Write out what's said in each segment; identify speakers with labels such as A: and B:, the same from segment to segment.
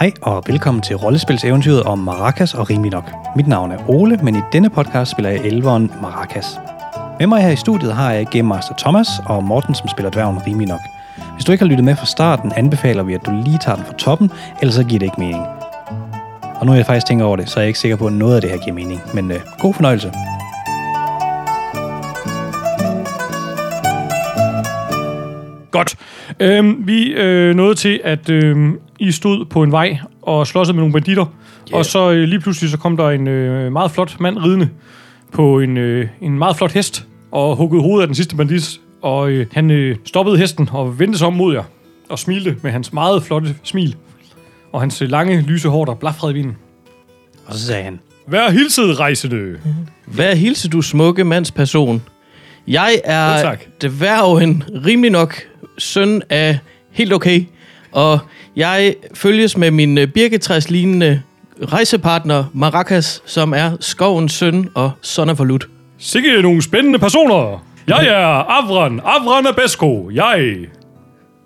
A: Hej og velkommen til rollespilseventyret om Maracas og Rimelig Nok. Mit navn er Ole, men i denne podcast spiller jeg elveren Maracas. Med mig her i studiet har jeg Game Master Thomas og Morten, som spiller dværgen Rimelig Nok. Hvis du ikke har lyttet med fra starten, anbefaler vi, at du lige tager den fra toppen, ellers så giver det ikke mening. Og nu er jeg faktisk tænker over det, så er jeg ikke sikker på, at noget af det her giver mening. Men øh, god fornøjelse.
B: Godt. Øhm, vi øh, nåede til, at øh, I stod på en vej og slåsede med nogle banditter. Yeah. Og så øh, lige pludselig så kom der en øh, meget flot mand ridende på en, øh, en meget flot hest og huggede hovedet af den sidste bandit. Og øh, han øh, stoppede hesten og vendte sig om mod jer og smilte med hans meget flotte smil. Og hans øh, lange, lyse hår, der blafrede i vinden.
A: Og så sagde han,
B: Vær hilset, rejsende!
C: Hvad hilser du, smukke mandsperson? Jeg
B: Jo,
C: er
B: tak.
C: dværgen, rimelig nok søn af helt okay, og jeg følges med min øh, birketræslignende rejsepartner Maracas, som er skovens søn og son af forlut.
B: Sikke nogle spændende personer! Jeg er Avran, Avran Abesko. Jeg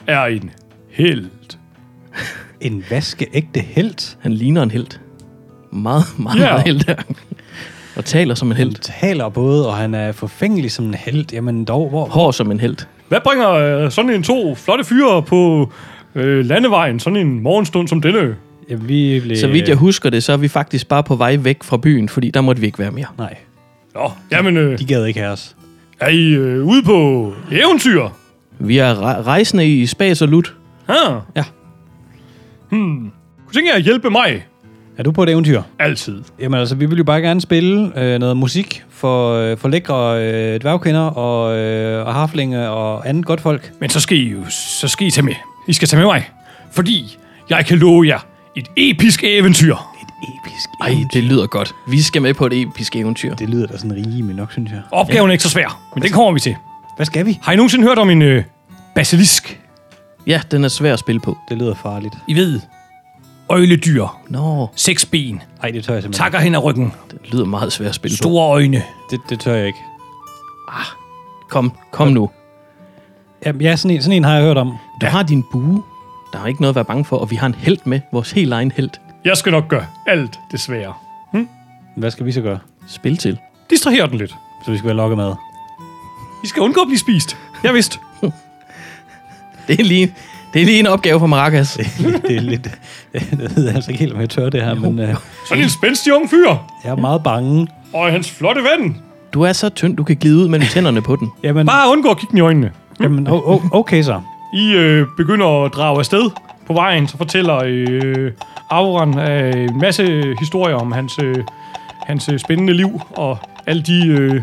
B: er en helt.
A: en vaskeægte helt.
C: Han ligner en helt. Meget, meget,
B: Ja.
C: yeah. meget helt der. Og taler som en
A: Han
C: helt.
A: taler både, og han er forfængelig som en helt. Jamen dog, hvor
C: Hår som en helt.
B: Hvad bringer øh, sådan en to flotte fyre på øh, landevejen sådan en morgenstund som denne?
A: Ja, vi blev...
C: Så vidt jeg husker det, så er vi faktisk bare på vej væk fra byen, fordi der måtte vi ikke være mere.
A: Nej,
B: Nå, jamen, øh,
A: de gad ikke have os.
B: er I øh, ude på eventyr?
C: Vi er re- rejsende i spas og lut.
B: Ha?
A: Ja.
B: Hmm. Kunne tænke jer at hjælpe mig?
A: Er du på et eventyr?
B: Altid.
A: Jamen altså, vi vil jo bare gerne spille øh, noget musik for, øh, for lækre øh, dværgkvinder og, øh, og harflinge og andet godt folk.
B: Men så skal I jo så skal I tage med. I skal tage med mig, fordi jeg kan love jer et episk eventyr.
A: Et episk
C: Ej, det lyder godt. Vi skal med på et episk eventyr.
A: Det lyder da sådan rimelig nok, synes jeg.
B: Opgaven er ikke så svær, men den kommer vi til.
A: Hvad skal vi?
B: Har I nogensinde hørt om en øh, basilisk?
C: Ja, den er svær at spille på.
A: Det lyder farligt.
B: I ved, øjledyr,
C: Nå,
B: seks ben,
A: Nej, det tør jeg simpelthen
B: takker hen ad ryggen,
C: den lyder meget svær at spille på.
B: store øjne.
A: ikke. Det, det tør jeg ikke.
C: Kom, kom nu.
A: Jamen, ja, sådan en, sådan en har jeg hørt om.
C: Du har din bue. Der er ikke noget at være bange for, og vi har en held med. Vores helt egen held.
B: Jeg skal nok gøre alt det svære.
A: Hvad skal vi så gøre?
C: Spil til.
B: Distraher den lidt.
A: Så vi skal være lokket med.
B: I skal undgå at blive spist. Jeg vidste.
C: Det er lige, det er lige en opgave for Maracas.
A: det er lidt... det ved jeg altså ikke helt, om jeg tør det her, men øh,
B: Sådan en spændstig ung fyr.
A: jeg er meget bange.
B: Og hans flotte ven.
C: Du er så tynd, du kan glide ud mellem tænderne på den.
A: Jamen,
B: Bare undgå at kigge den i øjnene.
A: jamen o- o- okay så.
B: I øh, begynder at drage afsted på vejen, så fortæller øh, Auron øh, en masse historier om hans, øh, hans øh, spændende liv og alle de øh,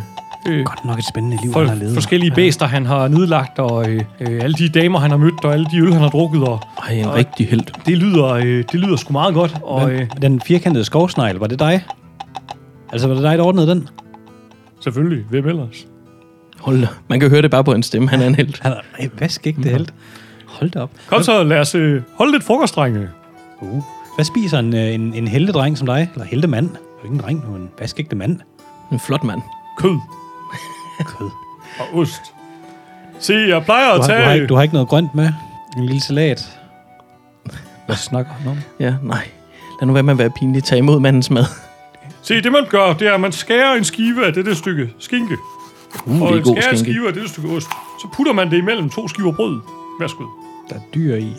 B: øh,
A: Godt nok et spændende liv, han har
B: for,
A: levet.
B: forskellige bæster, han har nedlagt, og øh, øh, alle de damer, han har mødt, og alle de øl, han har drukket. Og
C: Ej, en rigtig held.
B: det lyder, øh, det lyder sgu meget godt. Og, øh,
A: Men, den firkantede skovsnegl, var det dig? Altså, var det dig, der ordnede den?
B: selvfølgelig, hvem ellers?
C: Hold da. Man kan høre det bare på en stemme. Han er en held.
A: Han er ej, hvad skal ikke det helt? Hold da op.
B: Kom så, lad os øh, holde lidt frokost, drenge.
A: Uh. Hvad spiser en, øh, en, en heldedreng som dig? Eller heldemand? Det er jo ikke en dreng, nu er en vaskægte mand.
C: En flot mand.
B: Kød
A: Kød.
B: og ost. Se, jeg plejer
A: Du
B: at
A: har, du, har
B: tage...
A: ikke, du har ikke noget grønt med? En lille salat? Hvad snakker han om?
C: Ja, nej. Lad nu være med at være pinlig. Tag imod mandens mad.
B: Se, det man gør, det er, at man skærer en skive af det der stykke skinke.
C: Uh,
B: og
C: det er god
B: skærer en
C: skænke.
B: skive af det der stykke ost. Så putter man det imellem to skiver brød. Værsgo.
A: Der er dyr i. Det,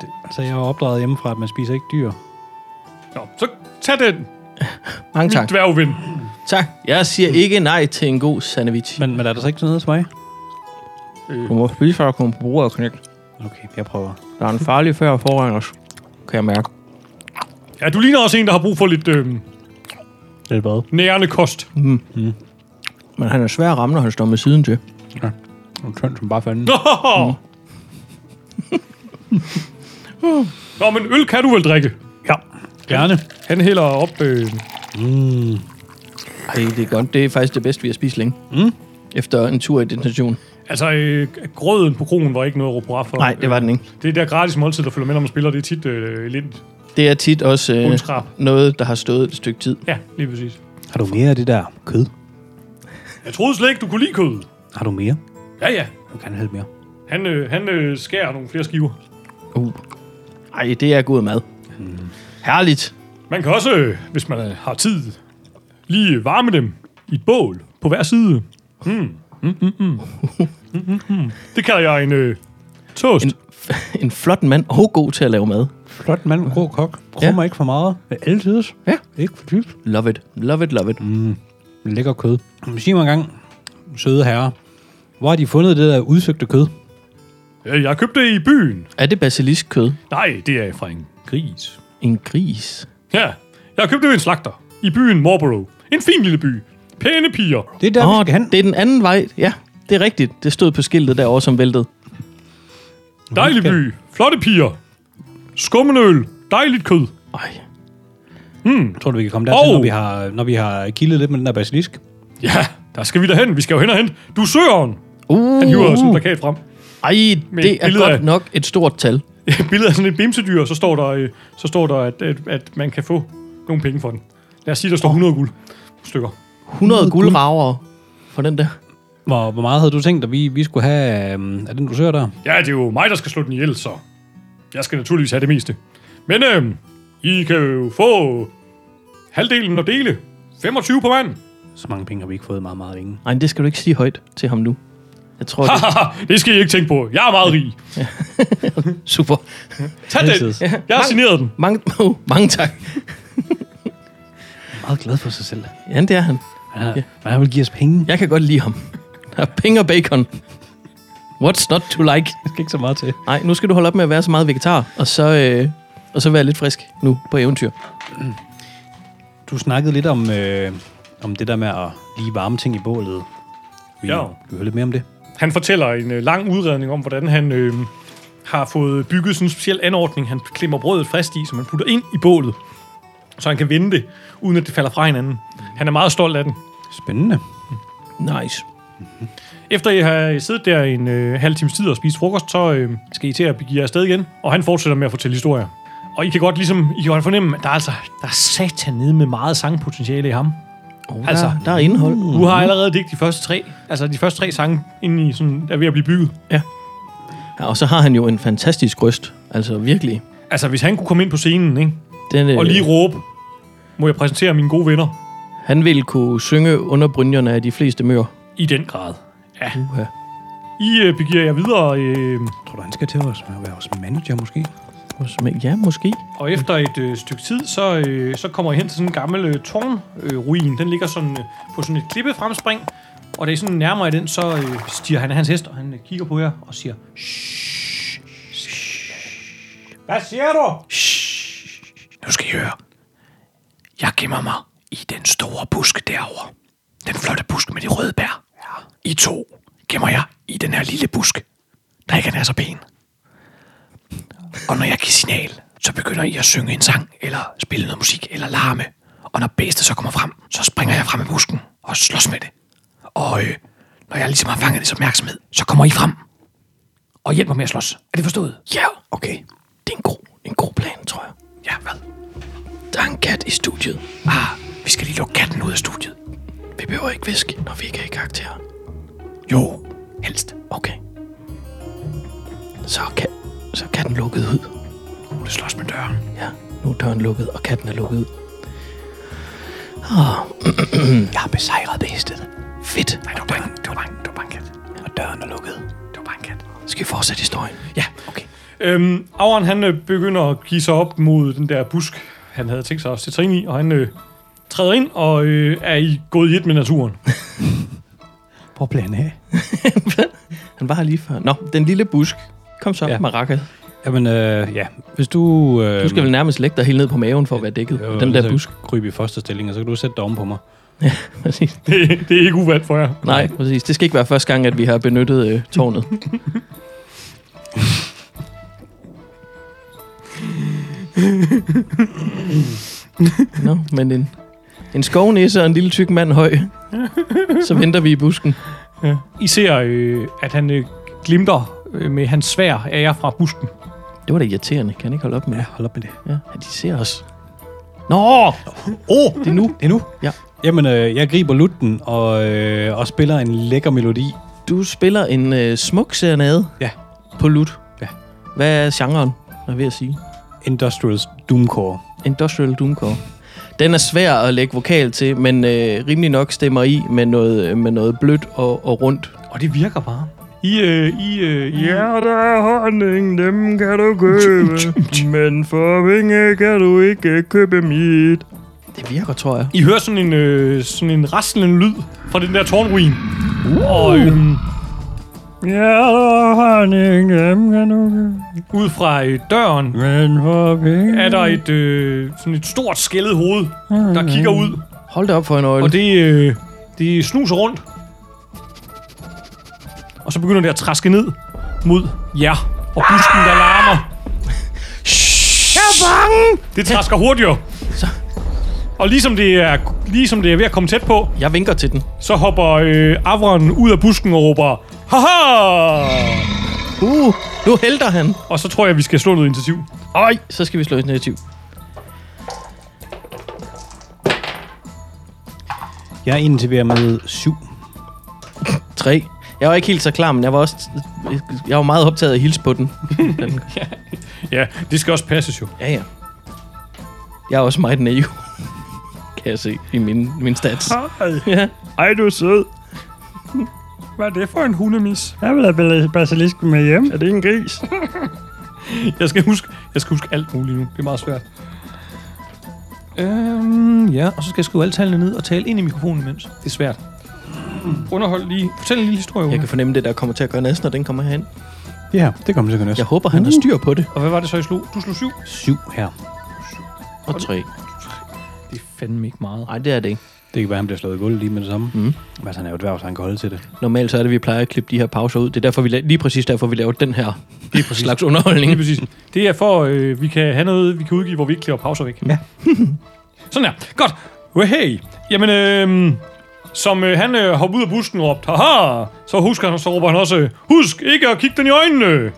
A: det, altså, jeg er opdraget hjemmefra, at man spiser ikke dyr.
B: Nå, så tag den,
C: Mange tak.
B: min dværgven.
C: Tak. Jeg siger ikke nej til en god sandwich.
A: Men, men er der så ikke sådan noget til mig?
C: Du må spise før at komme på bordet og knække.
A: Okay, jeg prøver.
C: Der er en farlig færd foran os. Kan jeg mærke.
B: Ja, du ligner også en, der har brug for lidt øh,
A: Det er bare.
B: nærende kost.
A: Mm.
C: Men han er svær at ramme, når han står med siden til.
A: Du er tynd som bare fanden.
B: Nå. Nå, men øl kan du vel drikke?
A: Mm. Ja, gerne.
B: Han hælder op... Øh,
C: Ej, det er godt. Det er faktisk det bedste, vi har spist længe. Mm. Efter en tur i detention.
B: altså, øh, grøden på kronen var ikke noget at råbe hurra for.
C: Nej, det var den ikke.
B: Det er der gratis måltid, der følger med, når man spiller. Det er tit øh, lidt...
C: Det er tit også øh,
B: Bundskrab.
C: noget, der har stået et stykke tid.
B: Ja, lige præcis.
A: Har du mere af det der kød?
B: Jeg troede slet ikke, du kunne lide kød.
A: Har du mere?
B: Ja, ja.
A: Jeg vil gerne have lidt mere.
B: Han, øh, han øh, skærer nogle flere skiver.
C: Uh. Ej, det er god mad. Herligt.
B: Man kan også, øh, hvis man øh, har tid, lige varme dem i et bål på hver side. Hmm, Mm. Mm, mm, mm. Mm, mm, mm. Det kalder jeg en øh, toast.
C: En, en flot mand og god til at lave mad.
A: Flot mand, god kok. Krummer ja. ikke for meget. Med altid.
C: Ja.
A: Ikke for dybt.
C: Love it, love it, love it. Mm.
A: Lækker kød. Sig mig engang, søde herre. Hvor har de fundet det der udsøgte kød?
B: Øh, Jeg købte det i byen.
C: Er det basiliskød?
B: Nej, det er fra en gris.
C: En gris?
B: Ja, jeg købte det ved en slagter i byen Marlborough. En fin lille by. Pæne piger.
A: Det er der, oh, vi
C: Åh,
A: skal hen.
C: det er den anden vej. Ja, det er rigtigt. Det stod på skiltet derovre, som væltede.
B: Dejlig
A: Okay.
B: by. Flotte piger. Skummenøl. Dejligt kød.
C: Ej.
A: Tror du, vi kan komme dertil,
B: Åh!
A: når, vi har, når vi har kildet lidt med den der basilisk?
B: Ja, der skal vi da hen. Vi skal jo hen og hen. Du er søren.
C: Uh,
B: Han hiver sådan en plakat frem.
C: Ej,
B: Med et
C: det er
B: billede
C: godt
B: af-
C: nok et stort tal.
B: Et billede af sådan et bimsedyr, og så står der, øh, så står der at, at, at man kan få nogle penge for den. Lad os sige, der står 100 guld stykker.
C: 100 guldrager for den der.
A: Hvor, hvor meget havde du tænkt, at vi, vi skulle have øhm, af den, du søger der?
B: Ja, det er jo mig, der skal slå den ihjel, så jeg skal naturligvis have det meste. Men øh, I kan jo få halvdelen og dele. 25 på mand.
A: Så mange penge har vi ikke fået i meget, meget længe.
C: Ej, men det skal du ikke sige højt til ham nu. Jeg tror, det
B: Haha, det skal I ikke tænke på. Jeg er meget rig.
C: er super.
B: Tag den.
A: Altid.
B: Jeg har signeret den.
C: Mange, oh, mange tak.
A: Jeg er meget glad for sig selv.
C: Ja, det er han.
A: Han, har, han vil give os penge.
C: Jeg kan godt lide ham. Der er penge og bacon. What's not to like?
A: Jeg skal ikke så meget til.
C: Nej, nu skal du holde op med at være så meget vegetar, og så, øh, og så være lidt frisk nu på eventyr.
A: Du snakkede lidt om, øh, om det der med at lige varme ting i bålet. Vi
B: Ja.
A: vi hører lidt mere om det.
B: Han fortæller en øh, lang udredning om, hvordan han øh, har fået bygget sådan en speciel anordning, han klemmer brødet fast i, som han putter ind i bålet, så han kan vende det, uden at det falder fra hinanden. Han er meget stolt af den.
A: Spændende.
C: Nice.
B: Efter I har siddet der en øh, halv times tid og spist frokost, så øh, skal I til at begive jer afsted igen, og han fortsætter med at fortælle historier. Og I kan godt ligesom, I kan godt fornemme, at der er altså, der er satan nede med meget sangpotentiale i ham.
C: Oh,
B: Altså, uh,
C: altså, der, der er indhold.
B: Du har allerede digtet de første tre, altså de første tre sange, inden I sådan er ved at blive bygget.
C: Ja, og så har han jo en fantastisk røst. Altså, virkelig.
B: Altså, hvis han kunne komme ind på scenen, ikke?
C: Den, øh,
B: Og lige råbe, må jeg præsentere mine gode venner?
C: Han ville kunne synge under brynjerne af de fleste mør.
B: I den grad. Ja.
C: Uha.
B: I øh, begiver jer videre, øh,
A: Tror du, han skal til os at være vores manager måske?
C: Ja, måske.
B: og efter et øh, stykke tid, så, øh, så kommer I hen til sådan en gammel øh, tårnruin. Øh, ruin. den ligger sådan, øh, på sådan et klippefremspring, og det er sådan nærmere i den, så øh, stiger han af hans hest, og han øh, kigger på jer og siger, "Shh, shh. Hvad siger du? Nu skal I høre. Jeg gemmer mig i den store busk derovre. Den flotte busk med de røde bær. Ja. I to gemmer jeg i den her lille busk, der ikke er så pæn. Og når jeg giver signal, så begynder I at synge en sang, eller spille noget musik, eller larme. Og når bæstet så kommer frem, så springer jeg frem i busken og slås med det. Og øh, når jeg ligesom har fanget dets opmærksomhed, så kommer I frem og hjælper med at slås. Er det forstået?
C: Ja, okay. Det er en god, en god plan, tror jeg.
B: Ja, hvad?
C: Der er en kat i studiet.
B: Ah, vi skal lige lukke katten ud af studiet.
C: Vi behøver ikke viske, når vi ikke er i karakter.
B: Jo, helst.
C: Okay. Så er, ka- så er katten lukket ud.
B: Nu er det slås med døren.
C: Ja, nu er døren lukket, og katten er lukket ud. Ah.
B: Jeg har besejret bæstet.
C: Fedt.
B: Nej, det var bare en, det var bare en, det var bare en kat. Og døren er lukket. Det var bare en kat.
C: Skal vi fortsætte historien?
B: Ja.
C: Okay.
B: Øhm, Auren, han øh, begynder at give sig op mod den der busk, han havde tænkt sig at sætte sig ind i, og han øh, træder ind og øh, er i gået i et med naturen.
A: Prøv at blande af.
C: Han var her lige før. Nå, den lille busk. Kom så,
A: Ja.
C: ja. Maracas.
A: Jamen, øh, ja. Hvis du... Øh,
C: Du skal vel nærmest lægge dig helt ned på maven for at være dækket. af den der busk.
A: Krybe i fosterstilling, og så kan du sætte dig oven på mig.
C: Præcis.
B: det, det er ikke uvandt for jer.
C: Nej, præcis. Det skal ikke være første gang, at vi har benyttet øh, tårnet. Nå, men en, en skovnæse og en lille tyk mand høj. Så venter vi i busken.
B: I ser, øh, at han øh, glimter øh, med hans svær af jer fra busken.
C: Det var da irriterende. Kan han ikke holde op med
A: Ja,
C: det?
A: hold op med det.
C: Ja, ja de ser os. Nå!
A: Åh, oh, det er nu. Det er nu.
C: Ja.
A: Jamen, øh, jeg griber lutten og, øh, og spiller en lækker melodi.
C: Du spiller en øh, smuk serenade
A: Ja.
C: på lut.
A: Ja.
C: Hvad er genren, er jeg ved at sige?
A: Industrial Doomcore.
C: Industrial Doomcore. Den er svær at lægge vokal til, men øh, rimelig nok stemmer i med noget, øh, med noget blødt og, og rundt.
B: Og det virker bare. I, øh, I, øh, I... Ja, der er honning, dem kan du købe. men for vinge kan du ikke købe mit.
C: Det virker, tror jeg.
B: I hører sådan en, øh, sådan en rasslende lyd fra den der tårnruin. Uh. Og øhm,
D: Ja, honning, dem kan du købe.
B: ud fra øh, døren
D: Men for penge...
B: er der et, øh, sådan et stort skældet hoved, der kigger ud.
C: Hold da op for en øjle.
B: Og det, øh, det snuser rundt. Og så begynder det at traske ned mod jer. Og busken, der larmer. Jeg er bange! Det trasker hurtigere. Og ligesom det, er, ligesom det er ved at komme tæt på,
C: Jeg vinker til den.
B: så hopper øh, Avron ud af busken og råber, Haha!
C: Uh, nu hælder han.
B: Og så tror jeg, vi skal slå noget initiativ.
C: Øj, så skal vi slå et negativ.
A: Jeg er indtil ved med 7.
C: 3. Jeg var ikke helt så klar, men jeg var også... Jeg var meget optaget af at hilse på den. den.
B: Ja, det skal også passes jo.
C: Ja, ja. Jeg er også meget naiv. Kan jeg se i min, min stats. Ja.
B: Ej, du er sød. Hvad er det for en hundemis?
D: Jeg vil have bas- basilisken med hjem.
B: Er det en gris? jeg, skal huske, jeg skal huske alt muligt nu. Det er meget svært. Øhm, ja, og så skal jeg skrive alle tallene ned og tale ind i mikrofonen imens. Det er svært. Underhold lige. Fortæl en lille historie,
C: Jeg
B: Ole.
C: kan fornemme det, der kommer til at gøre næsten, når den kommer herhen.
A: Ja, det kommer til at kunne også.
C: Jeg håber, han har styr på det.
B: Og hvad var det så, I slog? Du slog syv?
A: 7 her.
C: Og tre.
B: Det er fandme ikke meget.
C: Nej, det er det ikke.
A: Det kan være, han bliver slået i gulvet lige med det samme. Mm. Altså, han er jo dværg, så han kan holde til det.
C: Normalt så er det, vi plejer at klippe de her pauser ud. Det er derfor, vi la- lige præcis derfor, vi laver den her lige
B: præcis.
C: slags
B: Lige
C: underholdning.
B: præcis. Det er for, øh, vi kan have noget, vi kan udgive, hvor vi ikke klipper pauser væk. Ja. Sådan der. Godt. Hey. Jamen, øh, som øh, han øh, hopper ud af busken og råbte, haha, så husker han, så råber han også, øh, husk ikke at kigge den i øjnene.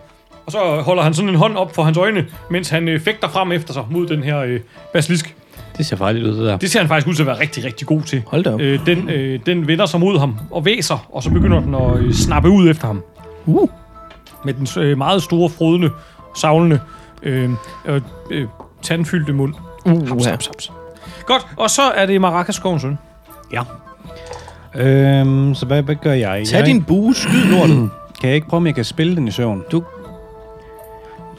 B: Og så holder han sådan en hånd op for hans øjne, mens han øh, fægter frem efter sig mod den her øh, basilisk.
A: Det ser farligt ud, det der.
B: Det ser han faktisk ud til at være rigtig, rigtig god til.
C: Hold da op.
B: Øh, den, øh, den vender sig mod ham og væser, og så begynder den at øh, snappe ud efter ham.
C: Uh.
B: Med den øh, meget store, frodende, savlende, øh, øh, øh, tandfyldte mund.
C: Uh,
B: Haps, haps. Godt, og så er det Maracaskovens søn.
A: Ja. Øhm, så hvad, hvad gør jeg?
C: Tag
A: jeg
C: din bue, skyd lortet.
A: Kan jeg ikke prøve, om jeg kan spille den i søvn?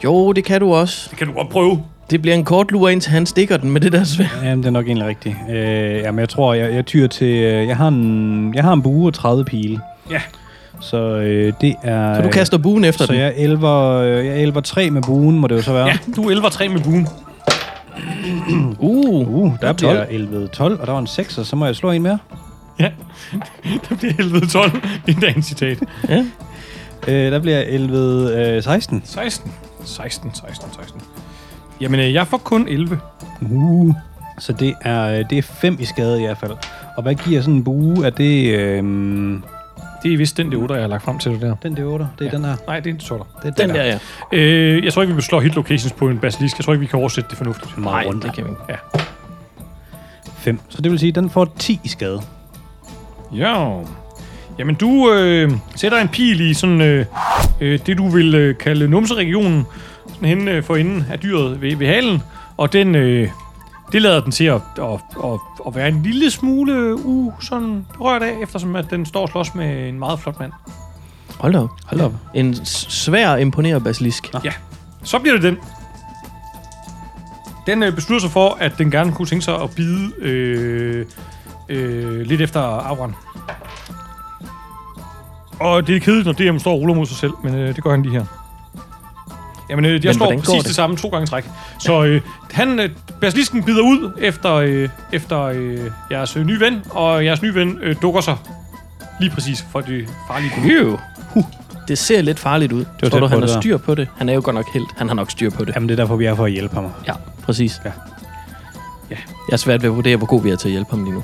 C: Jo, det kan du også.
B: Det kan du godt prøve.
C: Det bliver en kort lur, indtil han stikker den med det der svær.
A: Jamen, det er nok egentlig rigtigt. Øh, jamen, jeg tror, jeg, jeg tyr til... øh, Jeg har, en, jeg har en bue og 30 pile.
B: Ja.
A: Så øh, det er...
C: Så du kaster buen efter
A: Så
C: den.
A: jeg elver, øh, jeg elver 3 med buen, må det jo så være.
B: Ja, du er 11-3 med buen.
C: Uh,
A: Uh, der
C: Det er
A: bliver 11 12, og der var en 6, og så må jeg slå en mere.
B: Ja, det bliver helvede 12. Det er dagens citat.
C: ja.
A: Øh, der bliver 11 øh, 16.
B: 16. 16, 16, 16. Jamen, øh, jeg får kun 11.
A: Uh. Så det er, øh, det er 5 i skade i hvert fald. Og hvad giver sådan en bue? Er det... Øh,
B: Det er vist den det 8, jeg har lagt frem til dig der.
A: den der 8, det er ja. den her.
B: Nej, det er en 12.
A: Det er
C: Den der, ja.
B: Øh, jeg tror ikke, vi slår hit locations på en basilisk. Jeg tror ikke, vi kan oversætte det fornuftigt.
A: Meget rundt.
C: det kan vi ikke.
B: Ja.
A: 5. Så det vil sige, at den får 10 i skade.
B: Ja. Jamen, du øh, sætter en pil i sådan, øh, øh, det, du vil øh, kalde numseregionen, sådan hen øh, for enden af dyret ved, ved halen, og den, øh, det lader den til at, at, at, at være en lille smule øh, u sådan rørt af, eftersom at den står og slås med en meget flot mand.
C: Hold da op. Ah. Hold
A: op.
C: En s- svær imponerer basilisk.
B: Ja, så bliver det den. Den øh, beslutter sig for, at den gerne kunne tænke sig at bide øh, øh, lidt efter Avran. Og det er kedeligt, når DM står og ruller mod sig selv, men øh, det gør han lige her. Jamen, øh, jeg men står
C: hvordan går
B: præcis
C: det?
B: det samme to gange i træk. Så øh, han, øh, basilisken bider ud efter, øh, efter øh, jeres øh, nye ven, og jeres nye ven øh, dukker sig lige præcis for det farlige dyr.
C: Phew. Det ser lidt farligt ud.
A: var
C: Det Tror
A: tæt på,
C: du, han
A: det
C: har
A: der.
C: styr på det? Han er jo godt nok helt. Han har nok styr på det.
A: Jamen, det er derfor, vi er for at hjælpe ham.
C: Ja, præcis.
A: Ja.
B: Ja.
C: Jeg er svært ved at vurdere, hvor god vi er til at hjælpe ham lige nu.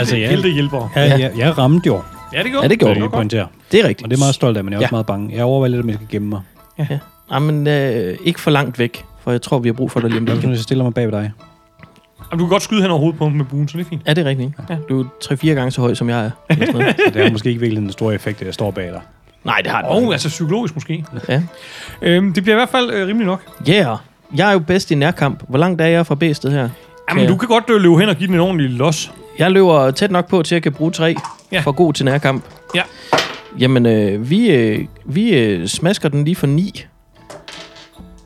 A: Altså,
B: altså,
A: ja.
B: ja. helte hjælper.
A: Ja,
C: Ja.
A: ja. Jeg, jeg ramte jo,
B: Ja, det gjorde
C: Ja, det gjorde
A: vil jeg
B: godt.
A: pointere.
C: Det er rigtigt.
A: Og det er jeg meget stolt af, men jeg er også
C: Ja.
A: meget bange. Jeg overvejer lidt, om jeg skal gemme mig.
C: Nej, men øh, ikke for langt væk, for jeg tror, vi har brug for dig lige om
A: Hvad hvis
C: lidt.
A: jeg stiller mig bag ved dig?
B: Jamen, du kan godt skyde hen over hovedet på ham med buen, så det er fint.
C: Er det rigtigt? Ja. Du er 3-4 gange så høj, som jeg er. eller sådan noget.
A: Så det er måske ikke virkelig den store effekt, at jeg står bag dig.
C: Nej, det har det
B: Og
C: ikke.
B: altså psykologisk måske.
C: Ja.
B: Øhm, det bliver i hvert fald øh, rimelig nok.
C: Yeah. jeg er jo bedst i nærkamp. Hvor langt er jeg fra B-sted her?
B: Jamen, du kan godt øh, løbe hen og give den en ordentlig los.
C: Jeg løber tæt nok på, til at jeg kan bruge tre
B: Ja.
C: ja. for god til nærkamp.
B: Ja.
C: Jamen, øh, vi, øh, vi øh, smasker den lige for ni.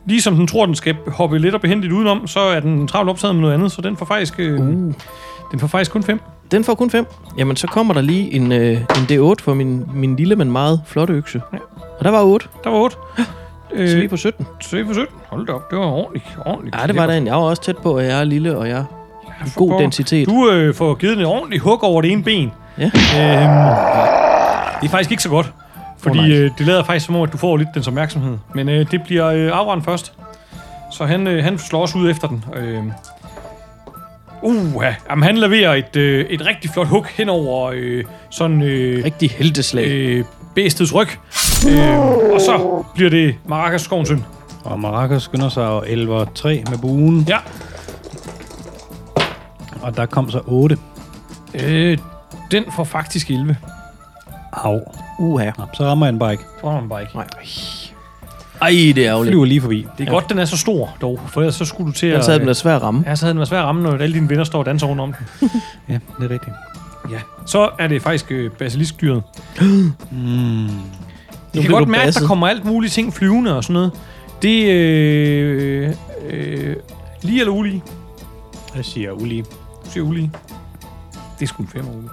B: Ligesom den tror, den skal hoppe lidt og behendigt udenom, så er den travlt optaget med noget andet, så den får faktisk, øh, uh. den får faktisk kun fem.
C: Den får kun 5. Jamen, så kommer der lige en, øh, en D8 for min, min lille, men meget flotte økse.
B: Ja.
C: Og der var 8,
B: Der var otte.
C: så vi er
B: Øh,
C: på 17.
B: så vi på 17. Hold da op, det var ordentligt. ordentligt
C: Nej, det var da en. Jeg var også tæt på, at jeg er lille, og jeg har en god
B: pokker.
C: densitet.
B: Du øh, får givet den en ordentlig hug over det ene ben.
C: Ja.
B: Øhm, det er faktisk ikke så godt. Fordi
C: nej.
B: øh, det lader faktisk som om, at du får lidt dens opmærksomhed. Men øh, det bliver øh, Avran først. Så han, øh, han slår også ud efter den. Øh, uh, jamen, han leverer et, øh, et rigtig flot hug hen over øh, sådan... Øh,
C: Rigtig helteslag.
B: øh, bæstets ryg. Øh, og så bliver det Maracas skovens søn.
A: Og Maracas skynder sig og 11 3 med buen.
B: Ja.
A: Og der kom så 8.
B: Øh, den får faktisk 11.
A: Au.
B: Øh.
C: Uha.
A: Nå, så rammer jeg den bare ikke.
B: Tror han bare ikke.
C: Nej. Ej, det er ærgerligt.
A: Flyver lige forbi.
B: Det er ja. godt, den er så stor, dog. For ellers så skulle du til
C: Ellers havde den
B: øh,
C: været svær at ramme.
B: Ja, så havde den været svær at ramme, når alle dine venner står og danser rundt om den.
A: Ja, det er rigtigt.
B: Ja. Så er det faktisk øh, basiliskdyret. mm.
C: Nu
B: Du kan
C: bliver
B: godt
C: du
B: mærke, at der
C: basset.
B: kommer alt muligt ting flyvende og sådan noget. Det øh, øh, lige eller ulige?
A: Jeg siger ulige.
B: Du siger ulige. Det er sgu en femmer ulige.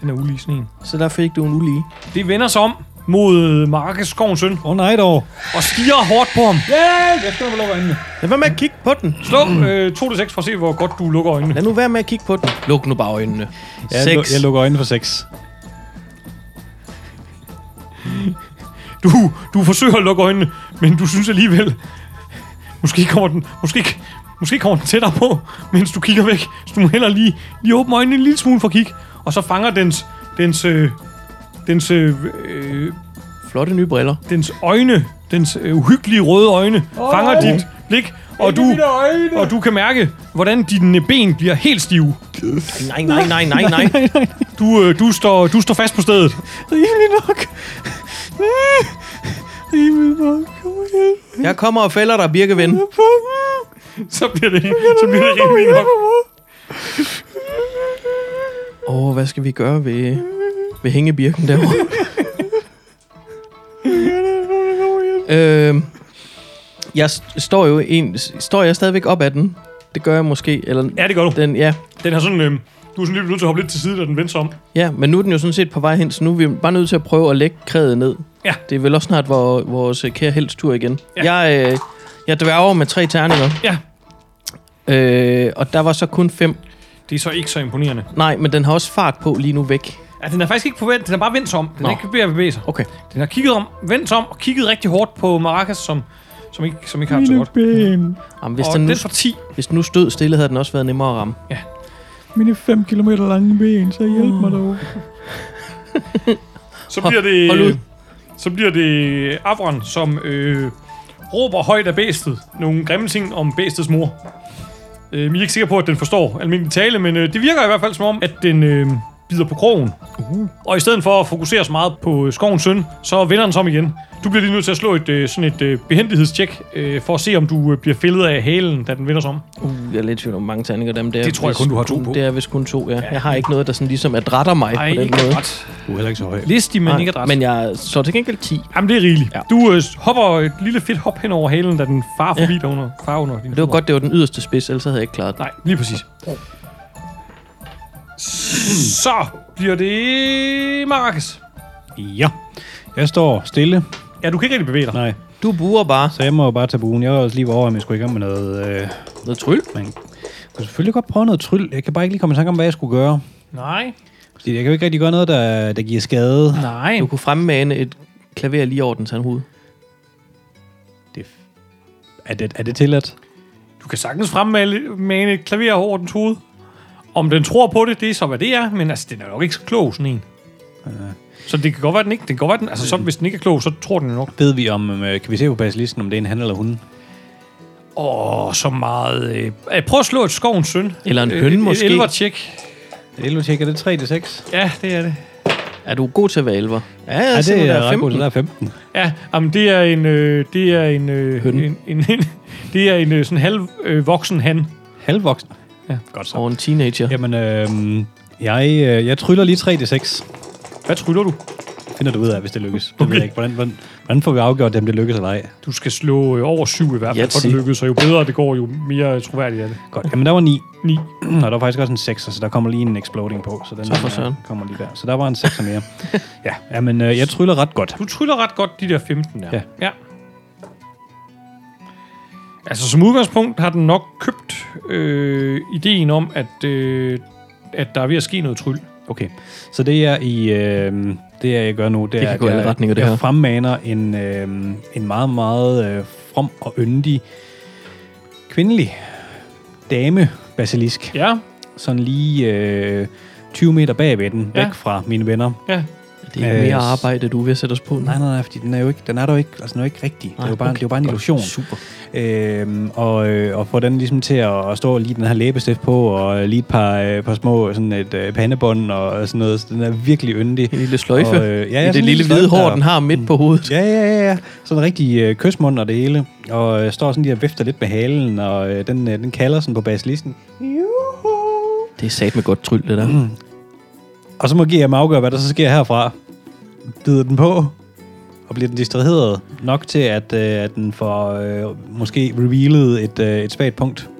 B: Den er ulige sådan en.
C: Så der fik du en ulige.
B: Det vender sig om mod Markus Skovens søn
A: Åh oh, nej dog.
B: og stiger hårdt på ham. Ja, jeg skal lukke øjnene.
C: Lad være med at kigge på den.
B: Slå øh, 2-6 for at se, hvor godt du lukker øjnene.
C: Lad nu være med at kigge på den. Luk nu bare øjnene.
A: Jeg, lu- jeg lukker øjnene for 6.
B: Du, du forsøger at lukke øjnene, men du synes alligevel... Måske kommer den, måske, måske kommer den tættere på, mens du kigger væk. Så du må hellere lige, lige åbne øjnene en lille smule for at kigge. Og så fanger dens, dens, øh, dens, øh, øh,
C: Flotte nye briller.
B: dens øjne, dens øh, uhyggelige røde øjne, oh, fanger dit blik. Og du, og du kan mærke, hvordan dine ben bliver helt stive.
C: Nej, nej, nej, nej, nej.
B: Du, øh, du, står, du står fast på stedet.
A: Rimelig nok. Rimelig nok. Kom og hjælp
C: Jeg kommer og fælder dig, Birkeven.
B: Så bliver det, så bliver det rimelig nok.
C: Åh, oh, hvad skal vi gøre ved, ved hængebirken derovre? øhm, jeg st- står jo en, står jeg stadigvæk op ad den? Det gør jeg måske, eller
B: Ja, det gør du.
C: den, ja.
B: Den har sådan, øh, du er sådan lige nødt til at hoppe lidt til side, da den vendte sig om.
C: Ja, men nu er den jo sådan set på vej hen, så nu er vi bare nødt til at prøve at lægge krædet ned.
B: Ja.
C: Det er vel også snart vor, vores øh, kære helst tur igen.
B: Ja.
C: Ja. Jeg, øh, jeg dværger med tre terninger,
B: Ja.
C: øh, og der var så kun fem.
B: Det er så ikke så imponerende.
C: Nej, men den har også fart på lige nu væk.
B: Ja, den er faktisk ikke på vent, den er bare vendt sig om. Den er
C: Nå.
B: ikke ved at bevæge sig.
C: Okay.
B: Den har kigget om, vendt sig om og kigget rigtig hårdt på Maracas, som, som ikke, som ikke har det så
D: Mine
B: godt.
D: ben.
C: Jamen, hvis,
B: og
C: den nu,
B: den får 10.
C: hvis den nu stod stille, havde den også været nemmere at ramme.
D: Mine 5 km lange ben, så hjælp mig dog.
B: Så bliver det...
C: hold ud.
B: Så bliver det Avron, som øh, råber højt af bæstet nogle grimme ting om bæstets mor. Øh, vi er ikke sikre på, at den forstår almindelig tale, men øh, det virker i hvert fald som om, at den øh, bider på krogen.
C: Uh-huh.
B: Uh. Og i stedet for at fokusere så meget på øh, skovens søn, så vender den sig om igen. Du bliver lige nødt til at slå et, øh, sådan et øh, behendighedstjek, øh, for at se, om du øh, bliver fældet af halen, da den vender sig om.
C: Uh, jeg er lidt i tvivl om hvor mange terninger dem der.
B: Det tror jeg kun, du har to på.
C: Det er vist kun to, ja. ja. Jeg har ikke noget, der sådan ligesom adretter mig
B: Ej,
C: på den
B: ikke
C: måde.
B: ret.
A: Du er heller ikke så høj.
B: Listig, men
C: Nej,
B: ikke adræt.
C: Men jeg så til gengæld 10.
B: Jamen, det er rigeligt. Ja.
C: Ja.
B: Du øh, hopper et lille fedt hop hen over halen, da den far forbi ja. dig under, far under din
C: Det var
B: fod.
C: godt, det var den yderste spids, ellers havde jeg ikke klaret det.
B: Nej, lige præcis. Så bliver det Marcus.
A: Ja. Jeg står stille.
B: Ja, du kan ikke rigtig bevæge dig.
A: Nej.
C: Du buer bare.
A: Så jeg må jo bare tage buen. Jeg var også lige over, om jeg skulle i gang med noget... Øh,
C: Noget tryl.
A: man jeg kunne selvfølgelig godt prøve noget tryl. Jeg kan bare ikke lige komme i tanke om, hvad jeg skulle gøre.
B: Nej.
A: Fordi jeg kan jo ikke rigtig gøre noget, der, der giver skade.
B: Nej.
C: Du kunne fremmane et klaver lige over den tandhoved.
A: Det, er, det, er det tilladt?
B: Du kan sagtens fremmane mane et klaver over dens hoved. Om den tror på det, det er så, hvad det er. Men altså, den er nok ikke så klog, sådan en. Så det kan godt være, den ikke... Det kan godt være, den, altså, så, hvis den ikke er klog, så tror den jo nok.
A: Ved vi om... Øh, kan vi se på basilisten, om det er en han eller hun?
B: Åh, så meget... Øh. Øh, Prøv at slå et skovens søn.
C: Eller en
B: Øh,
C: høne
B: et-
C: måske.
B: Et elver-tjek.
A: Det er tjekker det 3 til 6.
B: Ja, det er det.
C: Er du god til at være elver?
A: Ja,
C: Ja, jeg
A: det er
C: er
A: ret godt, det
C: 15.
A: der er 15.
B: Ja, jamen, det er en... Øh, det er en, øh,
C: Høn.
B: en, en, en det er en øh, sådan halv øh, voksen han.
A: Halvvoksen.
B: Ja.
A: godt så.
C: Og en teenager.
A: Jamen, øh, jeg, øh, jeg tryller lige 3d6.
B: Hvad tryller du?
A: Finder du ud af, hvis det lykkes. Det okay. ved jeg ikke. Hvordan, hvordan, hvordan får vi afgjort, om det lykkes eller ej?
B: Du skal slå øh, over syv i hvert fald, for
C: Yatzy.
B: det lykkes. Og jo bedre det går, jo mere troværdigt er det.
A: Godt. Jamen, der var 9.
B: 9.
A: Og der var faktisk også en 6, så der kommer lige en exploding på. Så den
C: Så for
A: øh,
C: søren.
A: kommer lige der. Så der var en 6 mere. ja, jamen, øh, jeg tryller ret godt.
B: Du tryller ret godt de der 15 der.
A: Ja.
B: ja. Altså, som udgangspunkt har den nok købt øh, ideen om, at, øh, at der er ved at ske noget tryl.
A: Okay. Så det jeg i øh, det jeg gør nu, det, er,
C: kan
A: at
C: gå i alle
A: jeg,
C: retninger, det
A: jeg
C: her.
A: fremmaner en øh, en meget meget øh, from og yndig kvindelig dame basilisk.
B: Ja,
A: Sådan lige øh, 20 meter bagved den,
B: Ja.
A: væk fra mine venner.
B: ja.
C: Det er
A: Øh,
C: ikke mere arbejde, du er ved at sætte os på. nu.
A: Nej, nej, nej, fordi den er jo ikke, den er der jo ikke, altså den er jo ikke rigtig. det er jo bare, det er jo bare en
C: Godt.
A: illusion.
C: Super.
A: Øhm, og, øh, og få den ligesom til at, at stå lige den her læbestift på, og øh, lige et par, øh, par små sådan et øh, pandebånd og sådan noget. Så den er virkelig yndig.
C: En lille sløjfe.
A: Og, øh, ja, ja,
C: I
A: sådan
C: det
A: en
C: lille
A: lille
C: hvide
A: sløjfe
C: hår,
A: der. Mm.
C: den har midt på hovedet.
A: Ja, ja, ja, ja. Sådan en rigtig øh, kysmund og det hele. Og øh, står sådan lige og vifter lidt med halen, og øh, den, øh, den kalder sådan på basilisten.
C: Det er sat med godt tryl, det der.
B: Mm.
A: Og så må GM afgøre, hvad der så sker herfra. Bider den på, og bliver den distraheret nok til, at, øh, at den får øh, måske revealet et, øh, et svagt punkt.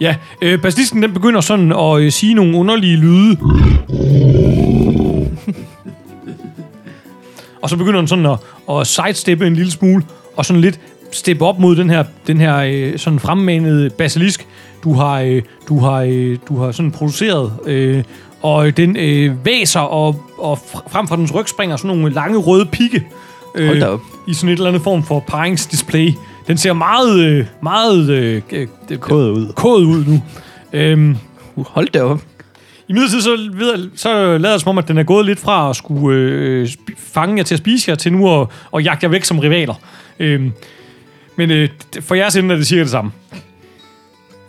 B: Ja, øh, basilisken den begynder sådan at øh, sige nogle underlige lyde. og så begynder den sådan at, at sidesteppe en lille smule, og sådan lidt steppe op mod den her, den her øh, sådan fremmanede basilisk, du har, øh, du har, øh, du har sådan produceret. Øh, og øh, den øh, væser, og, og fr- frem for dens ryg springer sådan nogle lange røde pigge. Øh,
C: Hold da op.
B: I sådan et eller andet form for paringsdisplay. Den ser meget, øh, meget øh, øh,
A: Kåd ud.
B: kået ud nu. Øhm,
C: Uh, Hold da op.
B: I midlertid så, ved, så lader det som om, at den er gået lidt fra at skulle øh, sp- fange jer til at spise jer, til nu at, at jagte jer væk som rivaler. Øhm, men øh, d- for jeres ende er det cirka det samme.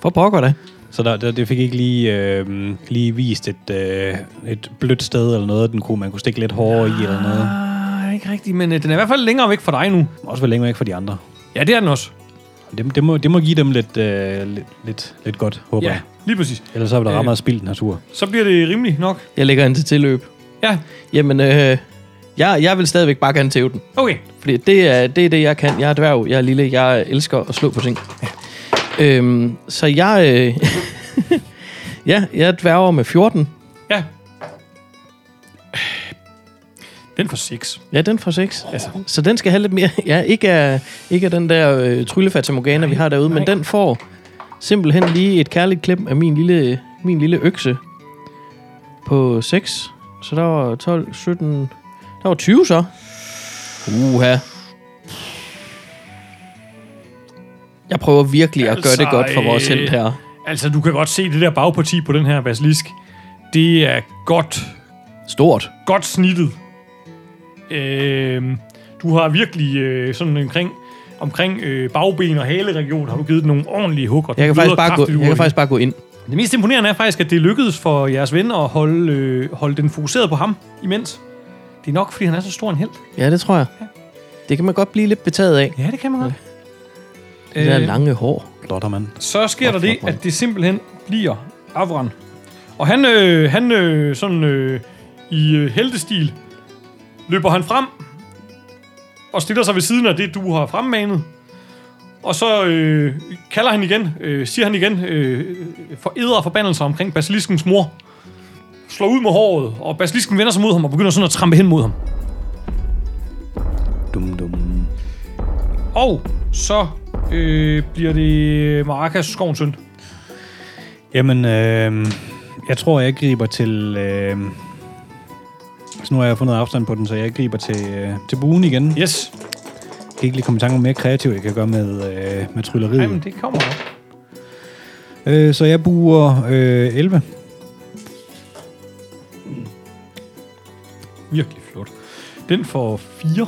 C: For pokker da.
A: Så der, der, det fik ikke lige, øh, lige vist et, øh, et blødt sted eller noget, den kunne, man kunne stikke lidt hårdere i eller noget.
B: Ah, ikke rigtigt, men øh, den er i hvert fald længere væk fra dig nu.
A: Også vel længere væk fra de andre.
B: Ja, det er den også.
A: Det, det, må, det må give dem lidt, øh, lidt, lidt, lidt godt, håber ja.
B: Ja,
A: jeg.
B: lige præcis.
A: Ellers så er der
B: Øh.
A: ret meget spildt natur.
B: Så bliver det rimeligt nok.
C: Jeg lægger an til tilløb.
B: Ja,
C: Jamen, øh, jeg, jeg vil stadigvæk bare gerne tæve den.
B: okay.
C: Fordi det er, det er det, jeg kan. Jeg er dværg, jeg er lille, jeg elsker at slå på ting. Øhm, så jeg... Øh, ja, jeg er dværger med 14.
B: Ja. Den får 6.
C: Ja, den får 6.
B: Altså,
C: Så den skal have lidt mere... Ja, ikke af, ikke af den der øh, tryllefatamorgana, vi har derude, men den får simpelthen lige et kærligt klem af min lille, min lille økse på 6. Så der var 12, 17... Der var 20 så. Uha. Jeg prøver virkelig at gøre det
B: Altså,
C: godt for vores
B: øh,
C: held her.
B: altså, du kan godt se det der bagparti på den her basilisk. Det er godt
C: Stort.
B: godt snittet. Øh, du har virkelig øh, sådan omkring, omkring øh, bagben og haleregion, har du givet den nogle ordentlige hugger.
C: Jeg kan, faktisk bare gå, jeg kan faktisk bare gå ind.
B: Det mest imponerende er faktisk, at det lykkedes for jeres ven at holde, øh, holde den fokuseret på ham imens. Det er nok, fordi han er så stor en held.
C: Ja, det tror jeg. Det kan man godt blive lidt betaget af.
B: Ja, det kan man godt.
C: Det der lange hår.
A: Blotter man.
B: så sker der
C: Flot,
B: det,
C: flot,
B: at det simpelthen bliver Avran. Og han, øh, han øh, sådan øh, i øh, heldestil løber han frem og stiller sig ved siden af det, du har fremmanet. Og så øh, kalder han igen, øh, siger han igen, øh, for æder forbandelser omkring basiliskens mor. Slår ud med håret, og basilisken vender sig mod ham og begynder sådan at trampe hen mod ham.
A: Dum, dum.
B: Og så øh, bliver det Maracas skovens søn.
A: Jamen, øh, jeg tror, jeg griber til... Øh, så nu har jeg fundet afstand på den, så jeg griber til, øh, til buen igen. Jeg
B: Yes.
A: kan ikke lige komme i tanke om mere kreativt, jeg kan gøre med, øh, med trylleriet.
B: Jamen, det kommer nok.
A: Øh, så jeg buer øh, 11.
B: Virkelig flot. Den får 4.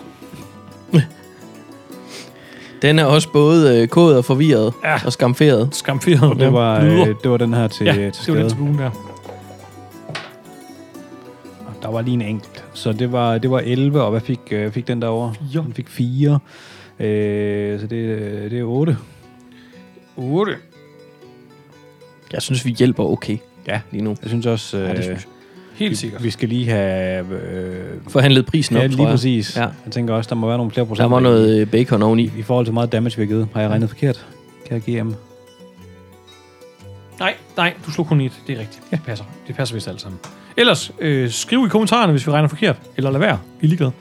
C: Den er også både øh, kået og forvirret
B: Ja.
C: ja. og skamferet.
B: Skamferet.
A: Det var,
B: Lyder.
A: øh, det var den her til,
B: Ja,
A: til
B: det var
A: skade.
B: den til buen der.
A: Der var lige en enkelt. Så det var, det var 11, og hvad fik, øh, fik den derovre?
B: Fire.
A: Den fik 4. Øh, så det, øh, det er 8.
B: 8.
C: Jeg synes, vi hjælper okay
A: Ja.
C: lige nu.
A: Jeg synes også, øh,
C: Ja, det synes
B: Helt
A: vi,
B: sikkert.
A: vi skal lige have... Øh,
C: Forhandlet prisen op,
A: ja,
C: tror
A: lige
C: jeg.
A: præcis.
C: Ja.
A: Ja. Jeg tænker også, der må være nogle flere procent.
C: Der var noget øh, bacon oveni.
A: I forhold til hvor meget damage, vi har givet. Har jeg regnet forkert? Kan jeg
C: Øhm.
A: GM?
B: Nej, nej, du slog kun et. Det er rigtigt. Ja. Det passer. Det passer vist alt sammen. Ellers, øh, skriv i kommentarerne, hvis vi regner forkert. Eller lad være. Vi er ligeglade.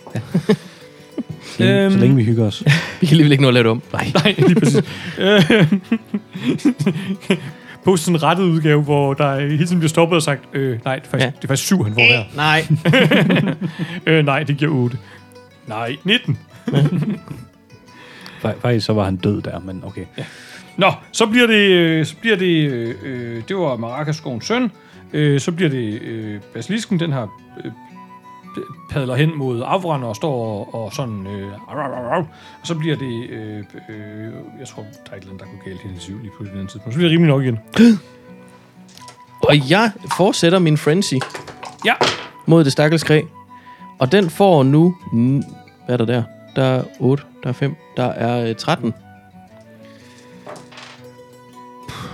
A: Så længe,
B: Øhm.
A: så længe vi hygger os.
C: Vi kan alligevel ikke nå at lave det om. Nej.
B: Nej, lige præcis. Øh, Post sådan en rettet udgave, hvor der hele tiden bliver stoppet og sagt, øh, nej, det er, faktisk,
C: Ja.
B: det er faktisk syv, han får her.
C: Nej.
B: Øh, nej, det giver 8. Nej, 19.
A: Fa- Faktisk så var han død der, men okay.
B: Nå, så bliver det, øh, så bliver det, øh, øh, det var Maracaskovens søn. Øh, så bliver det øh, basilisken, den her øh, padler hen mod Avran og står og, og sådan... Øh, arr, arr, arr, arr. og så bliver det... Øh, øh, jeg tror, der er et eller andet, der går galt hendes liv lige pludselig på den tidspunkt. Så bliver det rimelig nok igen.
C: Og jeg fortsætter min frenzy
B: Ja,
C: mod det stakkels kræ. Og den får nu... n- Hvad er der der? Der er 8, der er 5, der er øh, 13.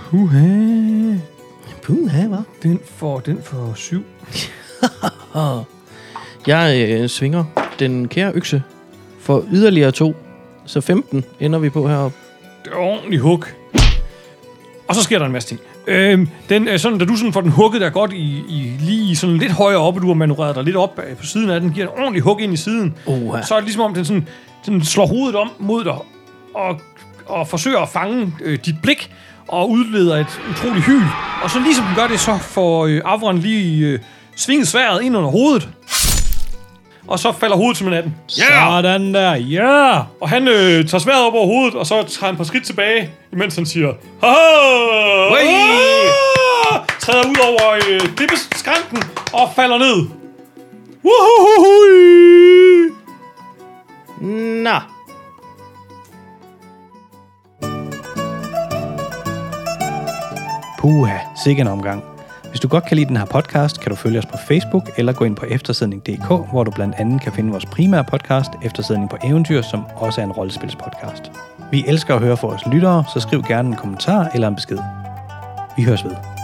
B: Puha.
C: Puha, hva'?
B: Den får, den får syv.
C: Jeg øh, svinger den kære økse for yderligere to. Så 15 ender vi på heroppe.
B: Det er ordentligt hug. Og så sker der en masse ting. Øhm, den, øh, sådan, da du sådan får den hugget der godt i, i lige sådan lidt højere op, og du har manøvreret dig lidt op øh, på siden af den, giver en ordentlig hug ind i siden,
C: Oha.
B: så er det ligesom om, den sådan, sådan slår hovedet om mod dig, og, og forsøger at fange øh, dit blik, og udleder et utroligt hyl. Og så ligesom den gør det, så får øh, Avron lige øh, svinget sværet ind under hovedet, og så falder hovedet som en natten.
A: Sådan der, ja!
B: Ja, og han øh, tager sværet op over hovedet, og så tager han et par skridt tilbage, imens han siger, Haha! Ah! Træder ud over øh, dippeskranken og falder ned. Uhuhuhui!
C: Nå.
A: Puha, sikke en omgang. Hvis du godt kan lide den her podcast, kan du følge os på Facebook eller gå ind på eftersidning.dk, hvor du blandt andet kan finde vores primære podcast, Eftersidning på Eventyr, som også er en rollespilspodcast. Vi elsker at høre fra vores lyttere, så skriv gerne en kommentar eller en besked. Vi høres ved.